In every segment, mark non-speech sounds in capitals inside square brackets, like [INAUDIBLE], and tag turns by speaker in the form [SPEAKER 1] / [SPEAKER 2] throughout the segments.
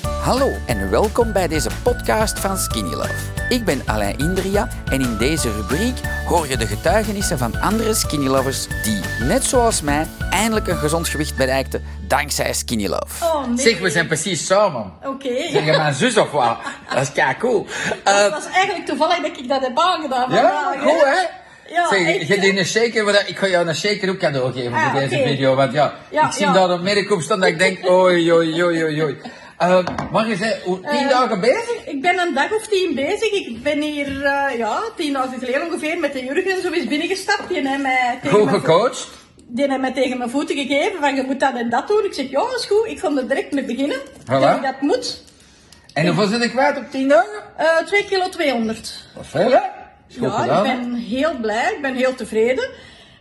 [SPEAKER 1] Hallo en welkom bij deze podcast van Skinny Love. Ik ben Alain Indria en in deze rubriek hoor je de getuigenissen van andere Skinny Lovers die, net zoals mij, eindelijk een gezond gewicht bereikten dankzij Skinny Love.
[SPEAKER 2] Oh, nee.
[SPEAKER 1] Zeg, we zijn precies samen.
[SPEAKER 2] Oké.
[SPEAKER 1] Zeg je mijn zus of wat? Dat is kei cool.
[SPEAKER 2] Dat was eigenlijk toevallig dat ik dat heb aangedaan.
[SPEAKER 1] ja,
[SPEAKER 2] vandaag, hè.
[SPEAKER 1] goed hè?
[SPEAKER 2] Ja,
[SPEAKER 1] zeg,
[SPEAKER 2] echt,
[SPEAKER 1] je
[SPEAKER 2] hè?
[SPEAKER 1] deed een shaker, maar dat- ik ga jou een shaker ook cadeau geven
[SPEAKER 2] Ah,
[SPEAKER 1] voor deze
[SPEAKER 2] oké.
[SPEAKER 1] video. Want ja,
[SPEAKER 2] Ja,
[SPEAKER 1] ik zie
[SPEAKER 2] ja.
[SPEAKER 1] daar een merk op staan dat ik
[SPEAKER 2] [LAUGHS]
[SPEAKER 1] denk, oei, oei, oei, oei, oei. Eh, maar je bent hoe- tien
[SPEAKER 2] Eh,
[SPEAKER 1] dagen bezig?
[SPEAKER 2] Ik ben een dag of tien bezig. Ik ben hier eh, ja, tien dagen geleden ongeveer met de Jurgen zo eens binnengestapt. Die heeft mij tegen,
[SPEAKER 1] Goed
[SPEAKER 2] mijn, vo-
[SPEAKER 1] gecoacht?
[SPEAKER 2] die heeft mij tegen mijn voeten gegeven van je moet dat en dat doen. Ik zeg ja, is goed. Ik ga er direct mee beginnen. Dat, ik dat moet.
[SPEAKER 1] En hoeveel zit ik kwijt op 10 dagen?
[SPEAKER 2] Eh 2 kilo 200.
[SPEAKER 1] Dat is veel, hè? Is goed
[SPEAKER 2] Ja,
[SPEAKER 1] gedaan.
[SPEAKER 2] ik ben heel blij. Ik ben heel tevreden.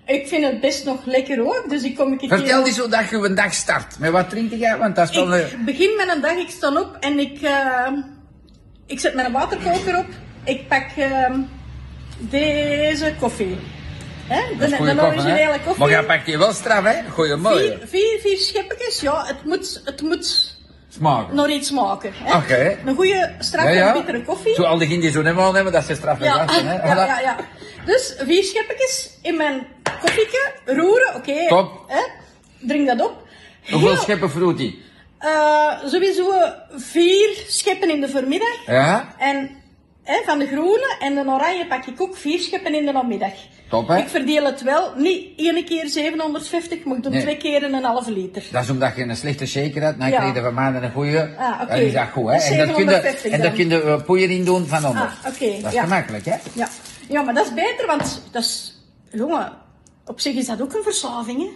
[SPEAKER 2] Ik vind het best nog lekker ook. Dus ik kom een keer...
[SPEAKER 1] Vertel eens hoe dat je een dag start. Met wat drink jij? Want dat is wel... eh,
[SPEAKER 2] Ik begin met een dag, ik sta op en ik, eh, ik zet mijn waterkoker op. Ik pak eh, deze koffie. Hè? De,
[SPEAKER 1] dat is goeie
[SPEAKER 2] de
[SPEAKER 1] koffie, hè?
[SPEAKER 2] originele koffie.
[SPEAKER 1] Maar jij pakt die wel straf, hè? Goeie mooie.
[SPEAKER 2] vier, vier, vier scheppetjes, ja, het moet, het moet
[SPEAKER 1] Smaak.
[SPEAKER 2] nog iets maken. Hè?
[SPEAKER 1] Oké.
[SPEAKER 2] Een goede, straffe, bittere koffie.
[SPEAKER 1] Zo al diegenen die zo helemaal nemen, dat ze straf
[SPEAKER 2] [LAUGHS] Ja,
[SPEAKER 1] gasten, hè?
[SPEAKER 2] ja, ja, ja. Dus vier scheppetjes in mijn koffieke, roeren, oké.
[SPEAKER 1] Top.
[SPEAKER 2] hè? Drink dat op.
[SPEAKER 1] Hoeveel
[SPEAKER 2] Heel-
[SPEAKER 1] scheppen vroeg die?
[SPEAKER 2] eh, sowieso vier scheppen in de voormiddag.
[SPEAKER 1] Ja?
[SPEAKER 2] En hè, van de groene en de oranje pak ik ook vier scheppen in de namiddag.
[SPEAKER 1] Top, hè?
[SPEAKER 2] Ik verdeel het wel, niet één keer 750, maar ik doe
[SPEAKER 1] Nee.
[SPEAKER 2] twee keer een halve liter.
[SPEAKER 1] Dat is omdat je een slechte shaker had, dan
[SPEAKER 2] Ja.
[SPEAKER 1] kreeg je van maanden een goede.
[SPEAKER 2] Ah, oké.
[SPEAKER 1] Dat is dat goed, hè?
[SPEAKER 2] Dus
[SPEAKER 1] En daar kun je,
[SPEAKER 2] 750
[SPEAKER 1] en daar
[SPEAKER 2] dan.
[SPEAKER 1] kun je eh, poeier in doen van onder.
[SPEAKER 2] Ah, oké,
[SPEAKER 1] Dat is
[SPEAKER 2] ja.
[SPEAKER 1] gemakkelijk, hè?
[SPEAKER 2] Ja. ja, maar dat is beter, want dat is... Jongen, op zich is dat ook een verslaving, hè?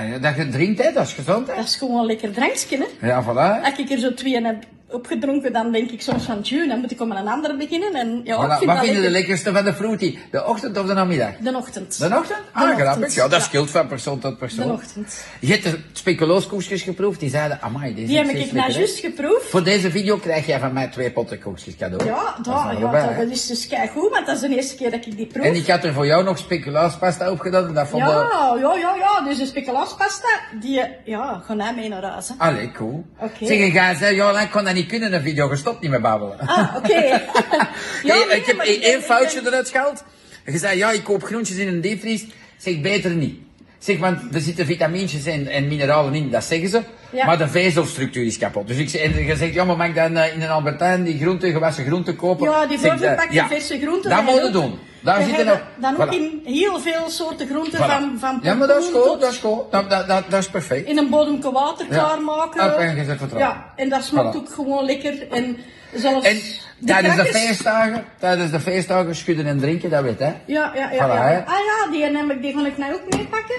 [SPEAKER 1] En Ah, dat je drinkt, hè? Dat is gezond, hè?
[SPEAKER 2] Dat is gewoon een lekker drankje, hè?
[SPEAKER 1] Ja, voilà.
[SPEAKER 2] Als ik er zo twee heb opgedronken, dan denk ik soms van... Tjoe, dan moet ik om een andere beginnen. En, ja, ik
[SPEAKER 1] Voilà.
[SPEAKER 2] vind
[SPEAKER 1] Wat
[SPEAKER 2] dat
[SPEAKER 1] vind je de
[SPEAKER 2] lekker.
[SPEAKER 1] lekkerste van de fruity? De ochtend of de namiddag?
[SPEAKER 2] De ochtend.
[SPEAKER 1] De ochtend?
[SPEAKER 2] De
[SPEAKER 1] Ah,
[SPEAKER 2] ochtend,
[SPEAKER 1] grappig. Ja, dat
[SPEAKER 2] ja.
[SPEAKER 1] scheelt van persoon tot persoon.
[SPEAKER 2] De ochtend.
[SPEAKER 1] Je hebt de speculooskoekjes geproefd, die zeiden, amai, deze
[SPEAKER 2] Die
[SPEAKER 1] is
[SPEAKER 2] heb ik
[SPEAKER 1] echt
[SPEAKER 2] nou
[SPEAKER 1] lekker, hè?
[SPEAKER 2] juist geproefd.
[SPEAKER 1] Voor deze video krijg jij van mij twee potten koekjes cadeau.
[SPEAKER 2] Ja, dat,
[SPEAKER 1] is nog
[SPEAKER 2] ja,
[SPEAKER 1] erbij,
[SPEAKER 2] dat,
[SPEAKER 1] hè?
[SPEAKER 2] dat is dus kei goed, want dat is de eerste keer dat ik die proef.
[SPEAKER 1] En ik had er voor jou nog speculaaspasta opgedaan en dat vond ik...
[SPEAKER 2] Ja, ja, ja, ja. Dus de speculaaspasta, die, eh, ja, ga naar mee naar huis. hè.
[SPEAKER 1] Allee, cool.
[SPEAKER 2] Oké.
[SPEAKER 1] Zeg, en jij zei, ja, ik kon dat niet kunnen, een video, gestopt niet met babbelen.
[SPEAKER 2] Ah, oké.
[SPEAKER 1] [LAUGHS] Hey,
[SPEAKER 2] nee,
[SPEAKER 1] ik heb e-
[SPEAKER 2] maar
[SPEAKER 1] één
[SPEAKER 2] ben- ik
[SPEAKER 1] foutje
[SPEAKER 2] ben-
[SPEAKER 1] eruit gehaald. Je zei, ja, ik koop groentjes in een diepvries. Zeg, beter niet. Zeg, want er zitten vitamintjes en, en mineralen in, dat zeggen ze.
[SPEAKER 2] Ja.
[SPEAKER 1] Maar de vezelstructuur is kapot. Dus ik zei, en je zegt, ja, maar mag ik dan eh, in een Albertijn die groenten, gewassen groenten kopen?
[SPEAKER 2] Ja, die
[SPEAKER 1] Zeg,
[SPEAKER 2] voorverpakte
[SPEAKER 1] dat- ja.
[SPEAKER 2] verse groenten.
[SPEAKER 1] Dat
[SPEAKER 2] zijn
[SPEAKER 1] moeten
[SPEAKER 2] ook-
[SPEAKER 1] doen. Daar
[SPEAKER 2] die
[SPEAKER 1] zitten nog...
[SPEAKER 2] hebben Dan ook
[SPEAKER 1] Voilà.
[SPEAKER 2] in heel veel soorten groenten
[SPEAKER 1] Voilà.
[SPEAKER 2] van, van
[SPEAKER 1] Ja, maar dat is
[SPEAKER 2] pompoen
[SPEAKER 1] goed,
[SPEAKER 2] tot
[SPEAKER 1] dat is goed. Dat, dat, dat, dat is perfect.
[SPEAKER 2] In een bodemke water klaarmaken.
[SPEAKER 1] Op en je zet vertrouwen.
[SPEAKER 2] Ja, en dat smaakt
[SPEAKER 1] Voilà.
[SPEAKER 2] ook gewoon lekker. En zelfs
[SPEAKER 1] En
[SPEAKER 2] de
[SPEAKER 1] tijdens de
[SPEAKER 2] crackers-
[SPEAKER 1] feestdagen, tijdens de feestdagen schudden en drinken, dat weet hè.
[SPEAKER 2] Ja, ja, ja.
[SPEAKER 1] Voilà,
[SPEAKER 2] ja.
[SPEAKER 1] hè?
[SPEAKER 2] Ah ja, die neem ik, die ga ik nou ook meepakken.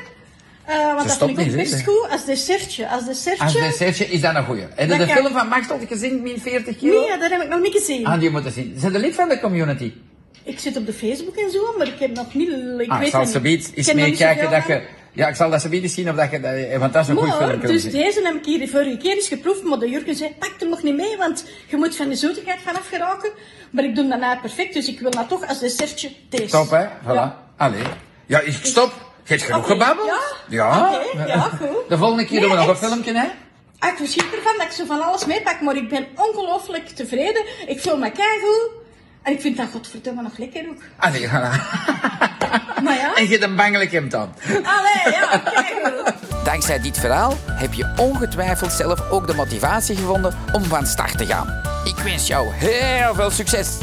[SPEAKER 2] Eh, want dat
[SPEAKER 1] stopt
[SPEAKER 2] vind ik ook
[SPEAKER 1] niet,
[SPEAKER 2] best
[SPEAKER 1] hè?
[SPEAKER 2] goed. Als dessertje. Als dessertje.
[SPEAKER 1] Als dessertje is dat een goeie. En
[SPEAKER 2] Dat
[SPEAKER 1] de
[SPEAKER 2] kan.
[SPEAKER 1] film van Max had ik gezien, min 40 kilo.
[SPEAKER 2] Nee, dat heb ik nog niet gezien.
[SPEAKER 1] Ah, die moeten zien. Zijn de lid van de community?
[SPEAKER 2] Ik zit op de Facebook en zo, maar ik heb nog niet... Ik
[SPEAKER 1] ah, ik
[SPEAKER 2] weet
[SPEAKER 1] zal
[SPEAKER 2] het
[SPEAKER 1] ze
[SPEAKER 2] niet.
[SPEAKER 1] iets
[SPEAKER 2] Ik ken nog
[SPEAKER 1] meer
[SPEAKER 2] niet
[SPEAKER 1] kijken
[SPEAKER 2] zoveel
[SPEAKER 1] dat je...
[SPEAKER 2] van.
[SPEAKER 1] Ja, ik zal dat ze eens zien of dat je... Dat, eh, want dat is een goede film.
[SPEAKER 2] Maar,
[SPEAKER 1] kunnen
[SPEAKER 2] dus
[SPEAKER 1] zien.
[SPEAKER 2] deze heb ik hier de vorige keer eens geproefd, maar de Jurgen zei, pak hem nog niet mee, want je moet van de zoetigheid vanaf geraken. Maar ik doe dat nou perfect, dus ik wil dat toch als dessertje deze.
[SPEAKER 1] Top, hè? Voilà.
[SPEAKER 2] Ja.
[SPEAKER 1] Allee. Ja, ik stop. Je hebt genoeg
[SPEAKER 2] Oké,
[SPEAKER 1] gebabbeld.
[SPEAKER 2] ja.
[SPEAKER 1] Ja.
[SPEAKER 2] Oké,
[SPEAKER 1] [LAUGHS]
[SPEAKER 2] ja, goed.
[SPEAKER 1] De volgende keer
[SPEAKER 2] Nee,
[SPEAKER 1] doen we nog
[SPEAKER 2] echt.
[SPEAKER 1] een filmpje, hè?
[SPEAKER 2] Ah, ik verschiet ervan dat ik zo van alles meepak, maar ik ben ongelooflijk tevreden. Ik voel me keigoed. En ik vind dat godverdomme nog lekker ook.
[SPEAKER 1] Allee, [LAUGHS] voilà.
[SPEAKER 2] Maar
[SPEAKER 1] [LAUGHS]
[SPEAKER 2] ja,
[SPEAKER 1] En je hebt een bangelijk hemd aan.
[SPEAKER 2] allee, ja, keigoed.
[SPEAKER 3] Dankzij dit verhaal heb je ongetwijfeld zelf ook de motivatie gevonden om van start te gaan. Ik wens jou heel veel succes!